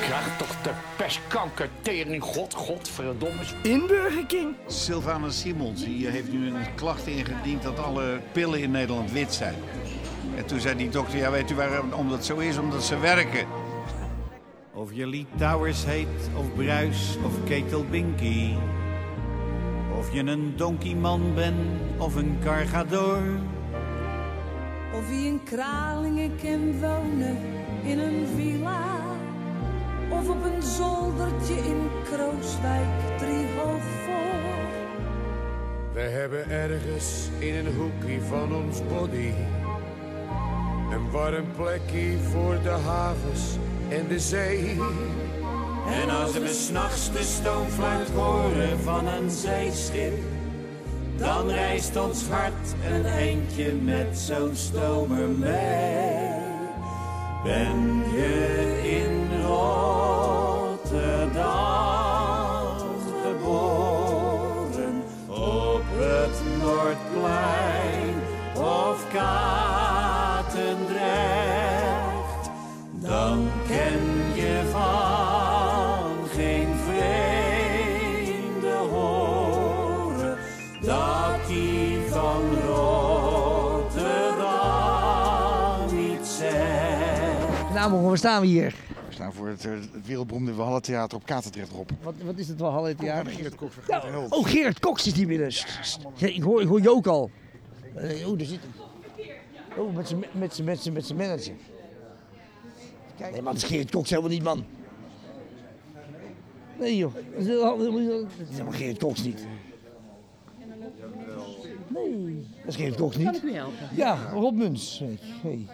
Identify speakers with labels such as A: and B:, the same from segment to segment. A: Krijg toch de pestkanker tering, god, godverdomme.
B: In Burger King.
C: Sylvana Simons die heeft nu een klacht ingediend dat alle pillen in Nederland wit zijn. En toen zei die dokter, ja weet u waarom omdat het zo is? Omdat ze werken. Of je liet Towers heet, of Bruis, of Ketelbinky. Of je een donkeyman bent, of een cargador.
D: Of wie in Kralingen kan wonen in een villa. Of op een zoldertje in Krooswijk driehoog voor.
E: We hebben ergens in een hoekje van ons body een warm plekje voor de havens en de zee.
F: En als we s'nachts de stoomfluit horen van een zeeschip, dan reist ons hart een eindje met zo'n stomer mee. Ben je in Rotterdam geboren, op het Noordplein of Katendrecht, dan ken je van geen vreemde horen dat die van Rotterdam niet zegt.
B: Nou, maar waar staan we hier?
G: We staan voor het, eh, het wereldberoemde Wallentheater op Katendrecht, Rob.
B: Wat, wat is het wel half het jaar?
G: Geert Koks, vergeet de held.
B: Oh, Gerard Cox is die binnen. Sst, sst. Ja, Ik hoor, ik hoor Jook al. Eh, oh, daar zit hem. Oh, met zijn met z'n- met z'n- met z'n manager. Kijk. Nee, man, dat is Gerard Cox helemaal niet, man. Nee, joh. Dat is heel- heel- heel- dat is helemaal Gerard Cox niet. Nee, dat is Gerard Cox
H: Kan ik
B: niet.
H: u helpen?
B: Ja, Rob Muns. weet je. Nee.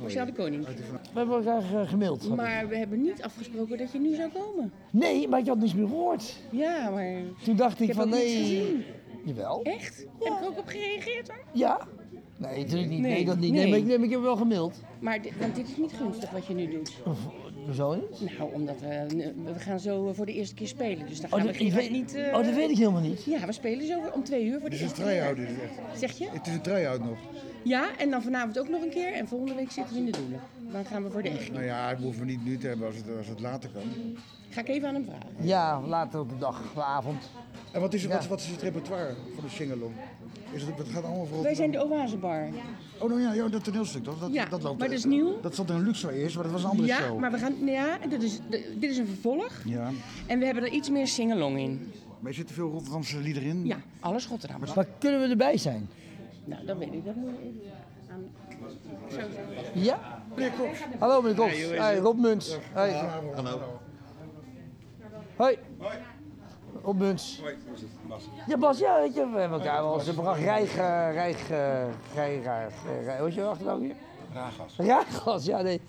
H: Marcel de Koning.
B: We hebben elkaar eh, gemaild.
H: Maar we hebben niet afgesproken dat je nu zou komen.
B: Nee, maar ik had niets meer gehoord.
H: Ja, maar ik
B: Toen dacht ik,
H: heb
B: van
H: ook niets
B: nee.
H: gezien.
B: Jawel.
H: Echt? Heb ik ook op gereageerd hoor.
B: Ja? Nee, natuurlijk niet. Nee,
H: Nee,
B: dat niet. Nee, maar,
H: nee.
B: ik, nee, maar ik heb wel gemaild.
H: Maar dit, want dit is niet gunstig wat je nu doet.
B: Hoezo eens?
H: Nou, omdat we, we gaan zo eh, voor de eerste keer spelen. Dus dan gaan
B: Oh,
H: we
B: dat, ik
H: Gerard
B: weet,
H: niet...
B: niet,
H: eh,
B: oh, dat weet ik helemaal niet.
H: Ja, we spelen zo om twee uur voor de
I: Het is een
H: eerste
I: try-out,
H: keer.
I: dit is echt.
H: Zeg je?
I: Het is een try-out nog.
H: Ja, en dan vanavond ook nog een keer. En volgende week zitten we in de doelen. Dan gaan we voor de echt.
I: Nou ja, het hoeven we niet nu te hebben als het, als het later kan.
H: Ga ik even aan hem vragen.
B: Ja, later op de dag, op de avond.
I: En wat is,
B: Ja.
I: wat, wat is het repertoire van de Singalong? Is het, het gaat allemaal voor
H: Wij zijn de Oasebar.
I: Oh, nou ja, ja, dat toneelstuk. Dat, dat,
H: Ja,
I: dat loopt eh,
H: maar dat is nieuw.
I: Dat zat in Luxor eerst, maar dat was een andere
H: Ja,
I: show.
H: maar we gaan... nou Ja, dit is, dit is een vervolg.
I: Ja,
H: En we hebben er iets meer singalong in.
I: maar er zitten veel Rotterdamse liederen in.
H: Ja, alles Rotterdam.
B: Maar kunnen we erbij zijn?
H: Nou, dat weet ik. Dat moet ik even aan... Zo zeggen.
B: Ja? Hallo meneer Koks. Hey, Rob Muns. Hey. Hoi. Rob Muns. Ja, Bas, ja, weet je, we hebben elkaar wel eens een programma. Rijg, eh, Rijg, eh, Rijg, eh, Rijg- hoe is je achternaam weer? Raaggas. Raaggas, ja, nee.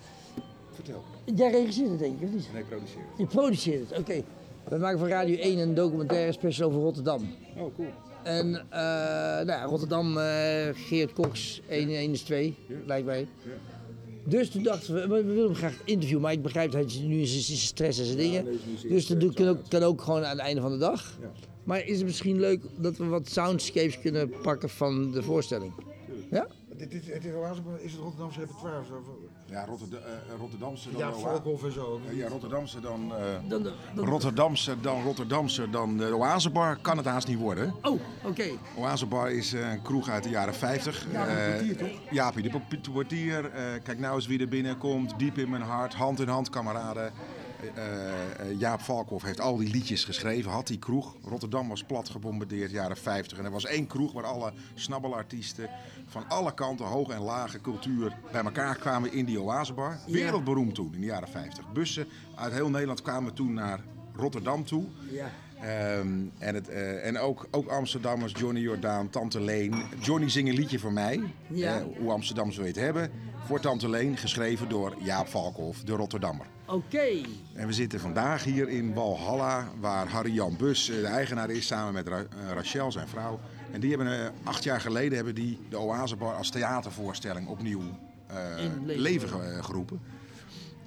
B: Vertel. Jij regisseert het denk ik, of niet? Nee, produceer Je produceert het, oké. We maken van Radio 1 een documentaire special over Rotterdam.
I: Oh, cool.
B: En eh, nou, ja, Rotterdam, eh, Geert Koks, 1 1 is 2, lijkt mij. Dus toen dachten we, we we willen hem graag interviewen, maar ik begrijp dat hij nu is, is- is stress en zijn dingen. dus dat
G: eh,
B: doe- kan ook, kan ook gewoon aan het einde van de dag. Maar is het misschien leuk dat we wat soundscapes kunnen pakken van de voorstelling? Ja?
I: Dit, dit, het is, Oase- is het Rotterdamse repertoire? Zo,
G: Ja, Rotterdam, eh, Rotterdamse dan
I: ja,
G: Oa-
I: Volkhoff en zo.
G: Eh, Ja, Rotterdamse dan, eh,
B: Dan, dan- dan-
G: Rotterdamse dan Rotterdamse dan de Oasebar kan het haast niet worden.
B: oh, oké.
G: Oasebar is eh, een kroeg uit de jaren 50. Ja,
I: portier, toch?
G: Jaapie de pop- portier. eh, kijk nou eens wie er binnenkomt. Diep in mijn hart. Hand in hand, kameraden. Eh, eh, Jaap Valkhoff heeft al die liedjes geschreven. Had die kroeg. Rotterdam was plat gebombardeerd jaren 50. En er was één kroeg waar alle snabbelartiesten van alle kanten, hoog en lage cultuur, bij elkaar kwamen in die Oasebar. Wereldberoemd toen, in de jaren 50. Bussen uit heel Nederland kwamen toen naar Rotterdam toe. Ehm, en het, eh, en ook, ook Amsterdammers, Johnny Jordaan, Tante Leen. Johnny zing een liedje voor mij,
B: Ja.
G: eh, hoe Amsterdam ze weet hebben. Voor Tante Leen, geschreven door Jaap Valkhoff, de Rotterdammer.
B: Oké.
G: En we zitten vandaag hier in Walhalla, waar Harry-Jan Bus eh, de eigenaar is, samen met Ra- eh, Rachel, zijn vrouw. En die hebben eh, acht jaar geleden hebben die de Oasebar als theatervoorstelling opnieuw eh,
B: In leven
G: leven ge- eh, geroepen.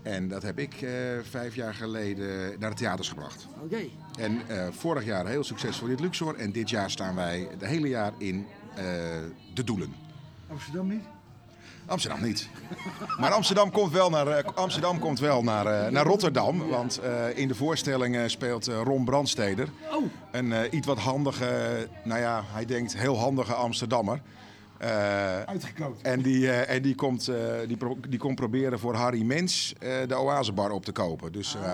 G: En dat heb ik eh, vijf jaar geleden naar de theaters gebracht.
B: Oké.
G: En eh, vorig jaar heel succesvol in het Luxor. En dit jaar staan wij het hele jaar in eh, de Doelen.
I: Amsterdam niet?
G: Amsterdam niet. Maar Amsterdam komt wel naar, eh, Amsterdam komt wel naar, eh, naar Rotterdam. Want eh, in de voorstelling eh, speelt eh, Ron Brandsteder.
I: Oh.
G: Een eh, iets wat handige, eh, nou ja, hij denkt heel handige Amsterdammer. Eh,
I: Uitgekookt.
G: en die, eh, en die, komt, eh, die, pro- die komt proberen voor Harry Mens eh, de Oasebar op te kopen. Dus
I: Ah,
G: eh,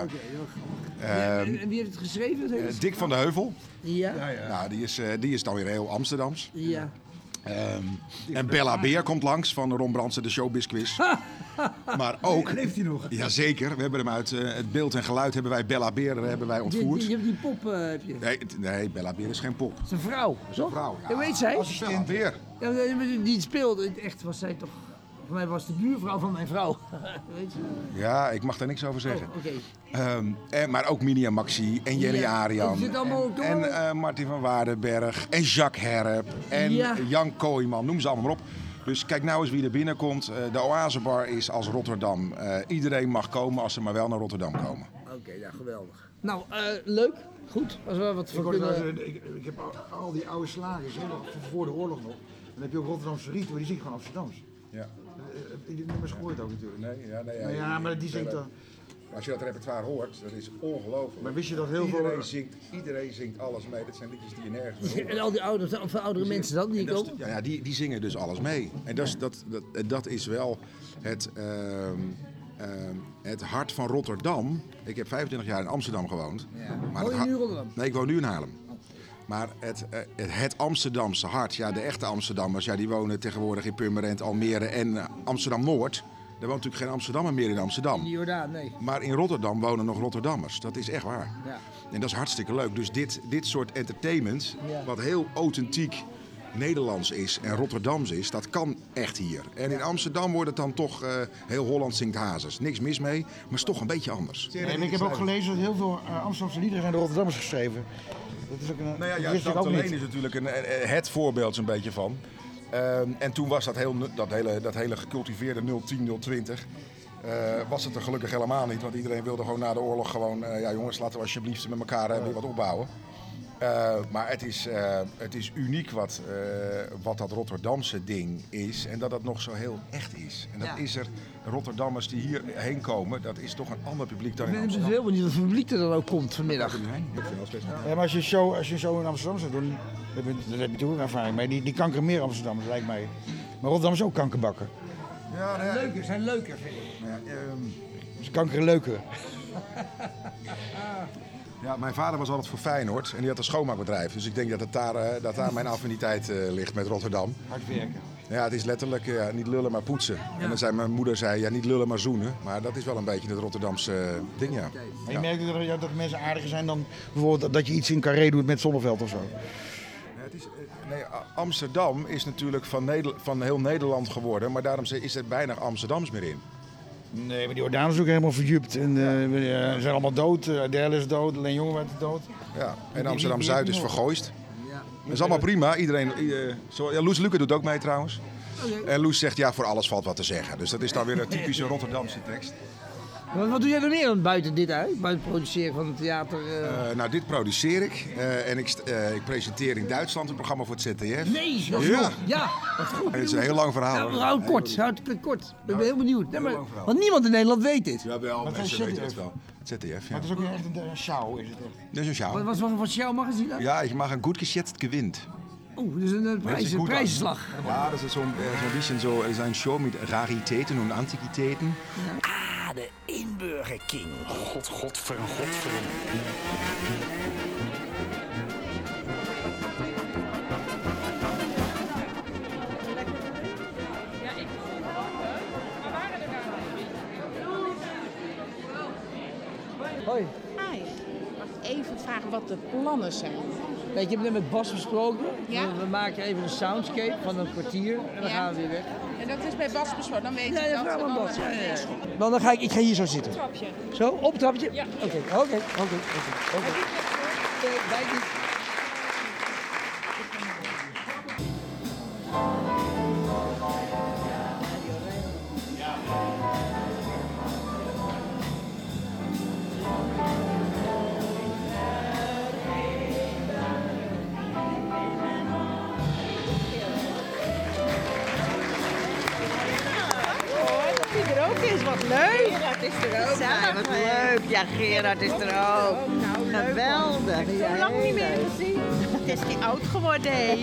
B: Ja, en, en wie heeft het geschreven? Dat
G: eh,
B: hele-
G: Dick van de Heuvel,
B: Ah, ja,
G: nou, die, is, eh, die is dan weer heel Amsterdams.
B: ja.
G: Ehm, en Bella Beer komt langs van Ron Brandsen, de Showbiz Quiz. maar ook...
I: Leeft hij nog?
G: Jazeker, we hebben hem uit eh, het beeld en geluid hebben wij Bella Beer eh, hebben wij
B: Die,
G: ontvoerd.
B: die, die, die pop eh, heb je. Dat
G: Nee, t- nee, Bella Beer is geen pop.
B: is een vrouw, toch?
G: vrouw, ja.
B: Dat weet zij.
G: Bella Beer.
B: Ja, die- die speelde, echt was zij toch... Voor mij was de buurvrouw van mijn vrouw. Weet je?
G: Ja, ik mag daar niks over zeggen.
B: Oh, oké.
G: Ehm, en, maar ook Minia Maxi en Jenny
B: Ja,
G: Arian.
B: het zit allemaal
G: en
B: door.
G: en eh, Martin van Waardenberg en Jacques Herp en
B: Ja.
G: Jan Kooijman, noem ze allemaal maar op. Dus kijk nou eens wie er binnenkomt. Eh, de Oasebar is als Rotterdam. Eh, iedereen mag komen als ze maar wel naar Rotterdam komen.
B: Oké, nou geweldig. Nou, eh, leuk. Goed. Als we wat
I: Ik,
B: voor
I: word wel
B: kunnen...
I: eens, eh, ik, ik heb al, al die oude slagers, hè, nog van voor de oorlog nog. Dan heb je ook Rotterdamse rieten, maar die zingt gewoon Amsterdams.
G: Ja.
I: Eh, eh, Heb je die nummers gehoord ook natuurlijk?
G: Nee, ja, nee,
I: Nou ja, maar die zingt dan...
G: Als je dat repertoire hoort, dat is ongelooflijk.
I: Maar wist je dat heel veel- Iedereen
G: zingt, iedereen zingt alles mee. Dat zijn liedjes die je nergens meer
B: En al die ouders, of oudere mensen dan, die komen.
G: Ja, ja die, die zingen dus alles mee. En dat is, dat, dat, en dat is wel het, ehm, ehm, het hart van Rotterdam. Ik heb 25 jaar in Amsterdam gewoond. Maar
B: Woon je
G: het hart-
B: nu in Rotterdam?
G: Nee, ik woon nu in Haarlem. Maar het, eh, het, het Amsterdamse hart, ja, de echte Amsterdammers, ja, die wonen tegenwoordig in Purmerend, Almere en eh, Amsterdam-Noord. Er woont natuurlijk geen Amsterdammer meer in
B: Die
G: Amsterdam.
B: Jordaan, nee.
G: Maar in Rotterdam wonen nog Rotterdammers. Dat is echt waar.
B: Ja.
G: En dat is hartstikke leuk. Dus dit, dit soort entertainment,
B: Ja.
G: wat heel authentiek Nederlands is en Rotterdams is, dat kan echt hier. En in Amsterdam wordt het dan toch eh, heel Holland zingt hazes. Niks mis mee, maar is toch een beetje anders.
I: en ik heb ook gelezen dat heel veel eh, Amsterdamse liederen zijn door Rotterdammers geschreven. Dat is ook een...
G: Nou ja,
I: dat
G: ja
I: wist ik
G: Tante
I: ook
G: Leen
I: niet.
G: is natuurlijk een, eh, eh, het voorbeeld zo'n beetje van. Ehm, en toen was dat, heel, nu- dat, hele, dat hele gecultiveerde 010-020... eh, was het er gelukkig helemaal niet. Want iedereen wilde gewoon na de oorlog gewoon... eh, ja jongens, laten we alsjeblieft met elkaar eh, weer wat opbouwen. Eh, maar het is, eh, het is uniek wat, eh, wat dat Rotterdamse ding is. En dat dat nog zo heel echt is. En dat
B: Ja.
G: is er... Rotterdammers die hierheen komen, dat is toch een ander publiek dan
B: Ik
G: in
B: ben
G: Amsterdam.
B: heel benieuwd wat voor publiek er dan ook komt vanmiddag.
G: Ik vind dat best wel-
I: Ja, maar als je, een show, als je een show in Amsterdam zou doen, daar heb je- daar heb je toch ook ervaring mee. Die, die kankeren meer Amsterdammers, lijkt mij. Maar Rotterdam is ook kankerbakken.
G: Ja, nou ja,
B: Eh, Leuker, zijn leuker vind ik.
G: ehm,
I: Dus kankeren leuker.
G: Ja, mijn vader was altijd voor Feyenoord en die had een schoonmaakbedrijf. Dus ik denk dat, het daar, eh, dat daar mijn affiniteit eh, ligt met Rotterdam.
I: Hard werken.
G: Ja, het is letterlijk eh, niet lullen, maar poetsen. En dan zei mijn moeder, zei, ja, niet lullen, maar zoenen. Maar dat is wel een beetje het Rotterdamse eh, ding, ja.
I: Maar je merkt dat, er- ja, dat mensen aardiger zijn dan bijvoorbeeld dat- dat je iets in Carré doet met Zonneveld of zo.
G: Ja, het is, eh, nee, A- Amsterdam is natuurlijk van, Neder- van heel Nederland geworden. Maar daarom ze- is er bijna Amsterdams meer in.
I: Nee, maar die Jordaan is ook helemaal verjupt. En eh, we, eh, ze zijn allemaal dood. Eh, Adele is dood, Leen Jongen werd dood.
G: Ja. En
I: die-
G: Amsterdam-Zuid
I: die-
G: is
I: die-
G: vergooist.
B: Ja.
G: Dat is allemaal prima. Iedereen, eh, zo, ja, Loes Luca doet ook mee trouwens.
B: Oké.
G: En Loes zegt, ja, voor alles valt wat te zeggen. Dus dat is dan weer een typische Rotterdamse tekst.
B: Wat, wat doe jij nog meer dan buiten dit uit? Buiten het produceren van het theater? eh?
G: Eh, nou, dit produceer ik. Eh, en ik, st- eh, ik presenteer in Duitsland een programma voor het ZDF.
B: Nee, dat is
G: Ja.
B: nog. Ja, dat is goed.
G: Het is een heel lang verhaal.
B: Ja,
G: hoor.
B: maar hou het kort, hou het kort. Ik ben heel benieuwd. Nee,
G: heel
B: maar-
G: lang verhaal.
B: want niemand in Nederland weet dit.
G: Jawel,
I: is
G: mensen
I: ZDF?
G: weten het wel. Het ZDF, ja.
I: Maar het is ook echt een, een show, is het echt.
G: Dat is een
B: Wat
G: sjaal.
B: was van jouw magazine dan?
G: Ja, ik mag een goed geschätzt gewint.
B: Oeh, dus een, eh, prijs, een
G: goed aan.
B: prijsslag.
G: Ja, dat is zo'n eh, zo'n beetje zo, eh, zo'n show met rariteiten en antiquiteiten.
A: Ah, de Inburger King. Oh, God, godver, godver.
B: Hoi.
H: Hi. Mag ik even vragen wat de plannen zijn?
B: Kijk, ik heb net met Bas besproken.
H: Ja.
B: We, we maken even een soundscape van een kwartier en dan
H: Ja.
B: gaan we weer weg.
H: En dat is bij Bas besloten, dan weet
B: Ja,
H: ik
B: ja,
H: dat.
B: vraag
H: en
B: maar
H: dan,
B: Bas.
H: eh,
B: Ja, ja,
H: is
B: ja.
H: goed.
B: Want dan ga ik, ik ga hier zo zitten.
J: Trapje.
B: Zo, op trapje?
J: Ja.
B: Oké, oké, oké, oké, oké. Eh, wij niet.
J: er ook is. Wat leuk.
H: Gerard is er ook bij.
J: Wat leuk. Ja, Gerard is er ook.
H: Oh, nou,
J: Geweldig.
H: Zo lang niet meer gezien.
J: Het is niet oud geworden, hè?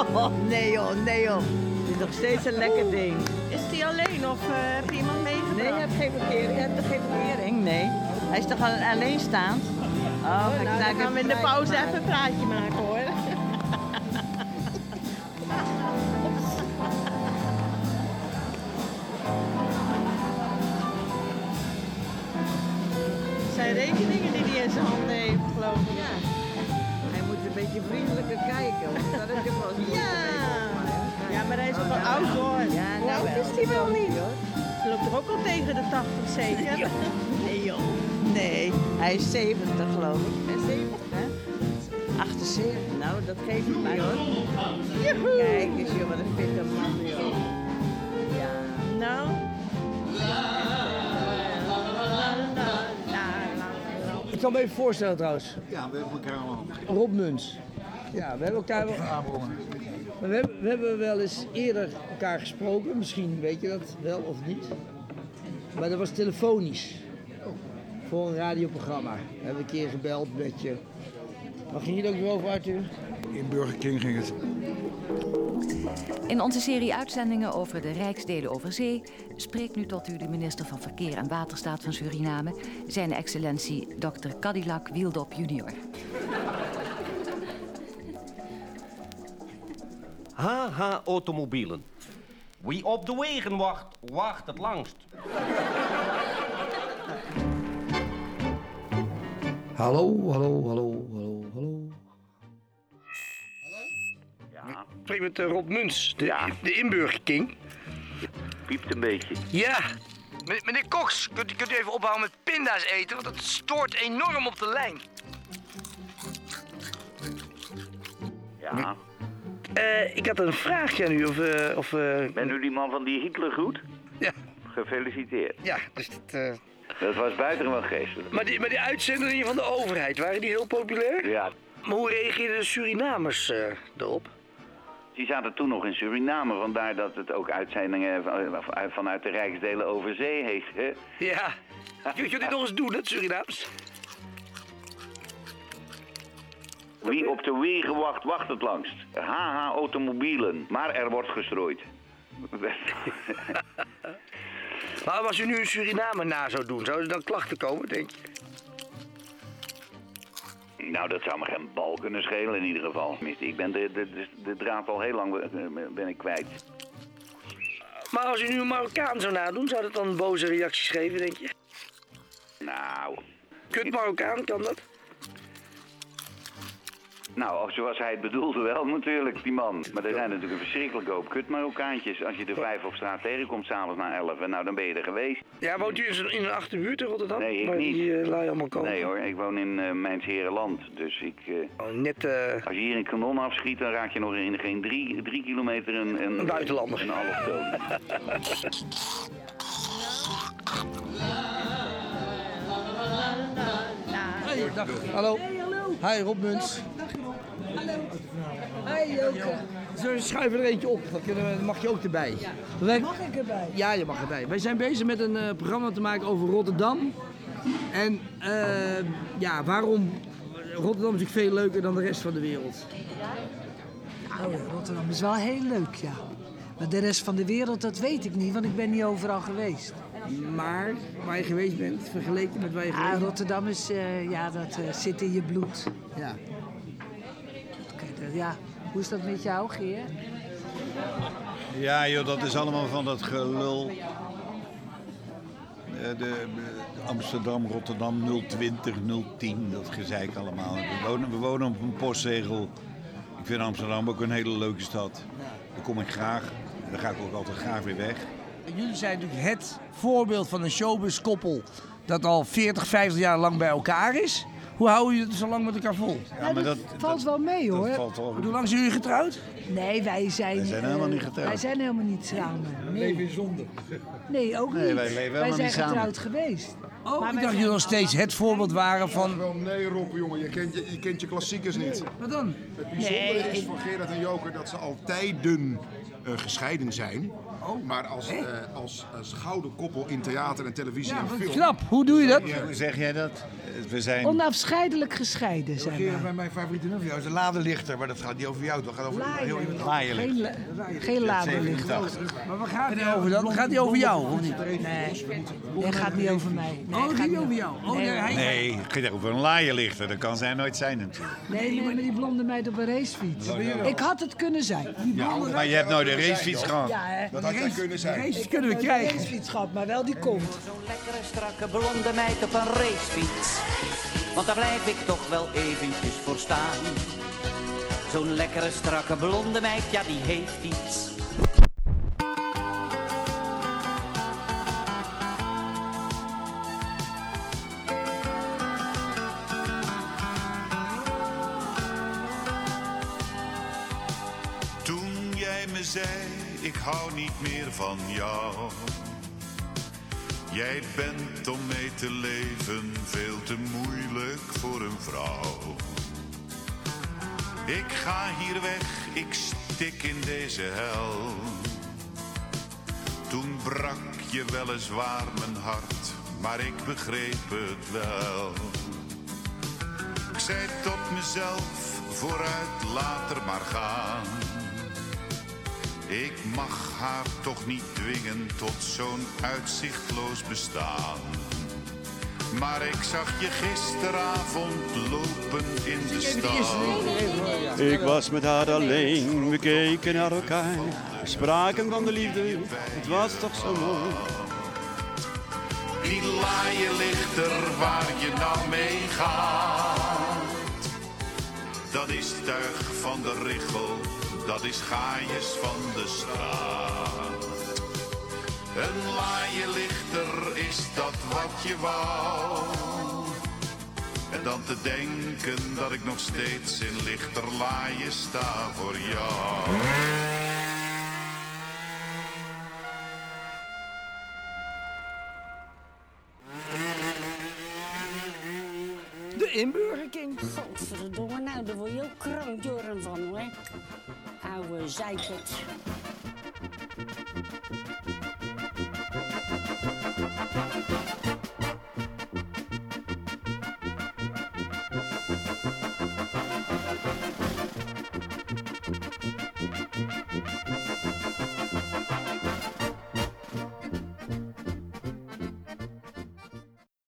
J: Oh, nee joh, nee joh. Het is nog steeds een lekker ding.
H: Is hij alleen of eh, heb je iemand meegebracht?
J: Nee, je hebt geen verkering. Je hebt geen verkering, nee. Hij is toch al- alleenstaand? Oh,
H: Nou,
J: ik
H: dan gaan we in de pauze even een praatje maken hoor.
J: zijn rekeningen die hij in zijn handen heeft, geloof ik. Hij moet een beetje vriendelijker kijken, want dat is gewoon Ja. ja, maar hij is ook wel oud hoor. Oh, nou, Ja, nou,
H: Hoe oud is hij wel niet? Ze loopt toch ook al tegen de 80 zeker?
J: Nee joh. Nee, hij is 70 geloof ik. Hij is 70 hè? 78, nou dat geeft niet mij hoor. Kijk eens joh, wat een fitte man joh. Ja.
H: Nou.
B: Ik kan me even voorstellen trouwens.
C: Ja, we hebben elkaar al.
B: Rob Muns. Ja, we hebben elkaar wel... Maar We hebben, we hebben wel eens eerder elkaar gesproken, misschien weet je dat wel of niet. Maar dat was telefonisch. Voor een radioprogramma. We hebben een keer gebeld met je. Waar ging je het ook weer over, Arthur?
I: In Burger King ging het.
K: In onze serie uitzendingen over de Rijksdelen over zee spreekt nu tot u de minister van Verkeer en Waterstaat van Suriname, zijn excellentie Dr. Cadillac Wieldop junior.
L: Oh
M: HH Automobielen. Wie op de wegen wacht, wacht het langst.
B: Hallo, hallo, hallo, hallo, hallo.
N: Ja. Spreek met eh, Rob Muns, de, de inburgerking.
O: Piept een beetje.
N: Ja. M- meneer Cox, kunt, u- kunt u even ophouden met pinda's eten? Want dat stoort enorm op de lijn.
O: Ja.
N: Eh, ik had een vraagje aan u. Of, eh, of, eh,
O: Bent u die man van die Hitlergroet?
N: Ja.
O: Gefeliciteerd.
N: Ja, dus dat... eh,
O: Dat was buitengewoon geestelijk.
N: Maar die, maar die uitzendingen van de overheid, waren die heel populair?
O: Ja.
N: Maar hoe reageerden de Surinamers eh, erop?
O: Die zaten toen nog in Suriname, vandaar dat het ook uitzendingen van- van- vanuit de Rijksdelen over zee heet. hè?
N: Ja. Kun je dit nog eens doen, dat Surinaams?
O: Wie op de wegen wacht, wacht het langst. HH automobielen, maar er wordt gestrooid.
N: Maar als u nu een Suriname na zou doen, zouden er dan klachten komen, denk je?
O: Nou, dat zou me geen bal kunnen schelen in ieder geval. Tenminste, Ik ben de, de, de, de draad al heel lang eh, ben ik kwijt.
N: Maar als u nu een Marokkaan zou nadoen, zou dat dan boze reacties geven, denk je?
O: Nou,
N: Kut Marokkaan, kan dat?
O: Nou, zoals hij het bedoelde wel natuurlijk, die man. Maar er zijn natuurlijk een verschrikkelijke hoop kut Marokkaantjes. Als je er vijf op straat tegenkomt, s'avonds na elf, en nou dan ben je er geweest.
N: Ja, woont u in, zo'n- in een achterbuurt in Rotterdam?
O: Nee, ik
N: Waar
O: niet.
N: Die eh, lui allemaal komen.
O: Nee hoor, ik woon in eh Mijns Herenland, dus ik...
N: oh, net...
O: Als je hier een kanon afschiet, dan raak je nog in geen drie, drie kilometer een... Een,
N: buitenlander.
O: Een allochtoon.
B: Hey, dag. Hallo. Hi, Rob Muns.
J: Hallo.
B: Hey, Joke. Zullen we schuiven er eentje op? Dan kunnen we- dan mag je ook erbij. Mag ik erbij? Ja, je mag erbij. Wij zijn bezig met een eh, programma te maken over Rotterdam. En eh, ja, waarom... Rotterdam is natuurlijk veel leuker dan de rest van de wereld.
L: Nou ja, Rotterdam is wel heel leuk, ja. Maar de rest van de wereld, dat weet ik niet, want ik ben niet overal geweest.
B: Maar waar je geweest bent, vergeleken met waar je geweest
L: Ah,
B: bent...
L: Rotterdam is, eh, ja, dat eh, zit in je bloed.
B: Ja.
L: ja. Hoe is dat met jou, Geer?
C: Ja joh, dat is allemaal van dat gelul. Eh, De, eh, Amsterdam, Rotterdam 020, 010, dat gezeik allemaal. We wonen, we wonen op een postzegel. Ik vind Amsterdam ook een hele leuke stad. Daar kom ik graag. Daar ga ik ook altijd graag weer weg.
B: Jullie zijn natuurlijk het voorbeeld van een showbuskoppel dat al 40, 50 jaar lang bij elkaar is. Hoe houden jullie het zo lang met elkaar vol?
C: Ja, maar dat,
L: Valt wel mee, hoor.
B: Hoe lang zijn jullie getrouwd?
L: Nee, wij zijn...
C: Wij zijn helemaal
L: eh,
C: niet getrouwd.
L: Wij zijn helemaal niet samen. Nee,
B: zonde.
L: nee ook
C: Nee,
L: niet.
C: wij leven helemaal
L: zijn
C: niet samen.
L: getrouwd geweest.
B: Oh,
L: maar
B: ik
L: wij
B: dacht
L: zijn-
B: jullie nog steeds het voorbeeld waren van...
P: Wel nee, Rob, jongen, je kent je, je kent je klassiekers niet.
B: Wat dan?
P: Het bijzondere is voor Gerard en Joker dat ze al tijden eh, gescheiden zijn.
B: Oh,
G: Maar als, eh, als, als gouden koppel in theater en televisie en film...
L: hoe doe je dat?
C: Hoe zeg jij dat? We zijn...
L: Onafscheidelijk gescheiden zijn
I: Gerard,
L: we.
I: bij mijn favoriete nummer van jou is de Ladenlichter, maar dat gaat niet over jou, dat gaat over
L: Laaien.
I: heel iemand
L: Laaien. Geen la- geen ladenlichter.
I: Maar waar gaat
L: Nee,
I: het over dan? Gaat die over jou of niet? Nee,
L: Nee, gaat niet over mij. Nee, gaat niet over jou.
B: Oh,
L: nee, hij-
C: Nee, het gaat over een laaienlichter. Dat kan zij nooit zijn natuurlijk.
L: Nee, nee, maar die blonde meid op een racefiets.
C: Wat bedoel je?
L: Ik had het kunnen zijn. Die
C: Ja,
L: blonde
C: maar je hebt nooit een racefiets gehad.
L: Ja, hè.
C: Dat had jij
L: Race-
C: kunnen zijn.
L: racefiets
C: kunnen we
L: Ik heb nooit
C: krijgen.
L: Een racefiets gehad, maar wel die komt.
Q: lekkere strakke blonde meid op een racefiets. Want daar blijf ik toch wel eventjes voor staan. Zo'n lekkere strakke blonde meid, ja die heeft iets.
R: Toen jij me zei, ik hou niet meer van jou. Jij bent om mee te leven veel te moeilijk voor een vrouw. Ik ga hier weg, ik stik in deze hel. Toen brak je weliswaar mijn hart, maar ik begreep het wel. Ik zei tot mezelf, vooruit, later maar gaan. Ik mag haar toch niet dwingen tot zo'n uitzichtloos bestaan. Maar ik zag je gisteravond lopen in de stad.
S: Ik was met haar alleen, we keken naar elkaar, we spraken van de liefde, het was toch zo mooi.
R: Die laaie lichter waar je nou mee gaat. Dat is tuig van de richel, dat is gaaiers van de straat. Een laaie lichter is dat wat je wou. En dan te denken dat ik nog steeds in lichter laaien sta voor jou.
T: De inburgering. Godverdomme, nou, daar word je ook krankjoren van, hoor. Oude zeikert.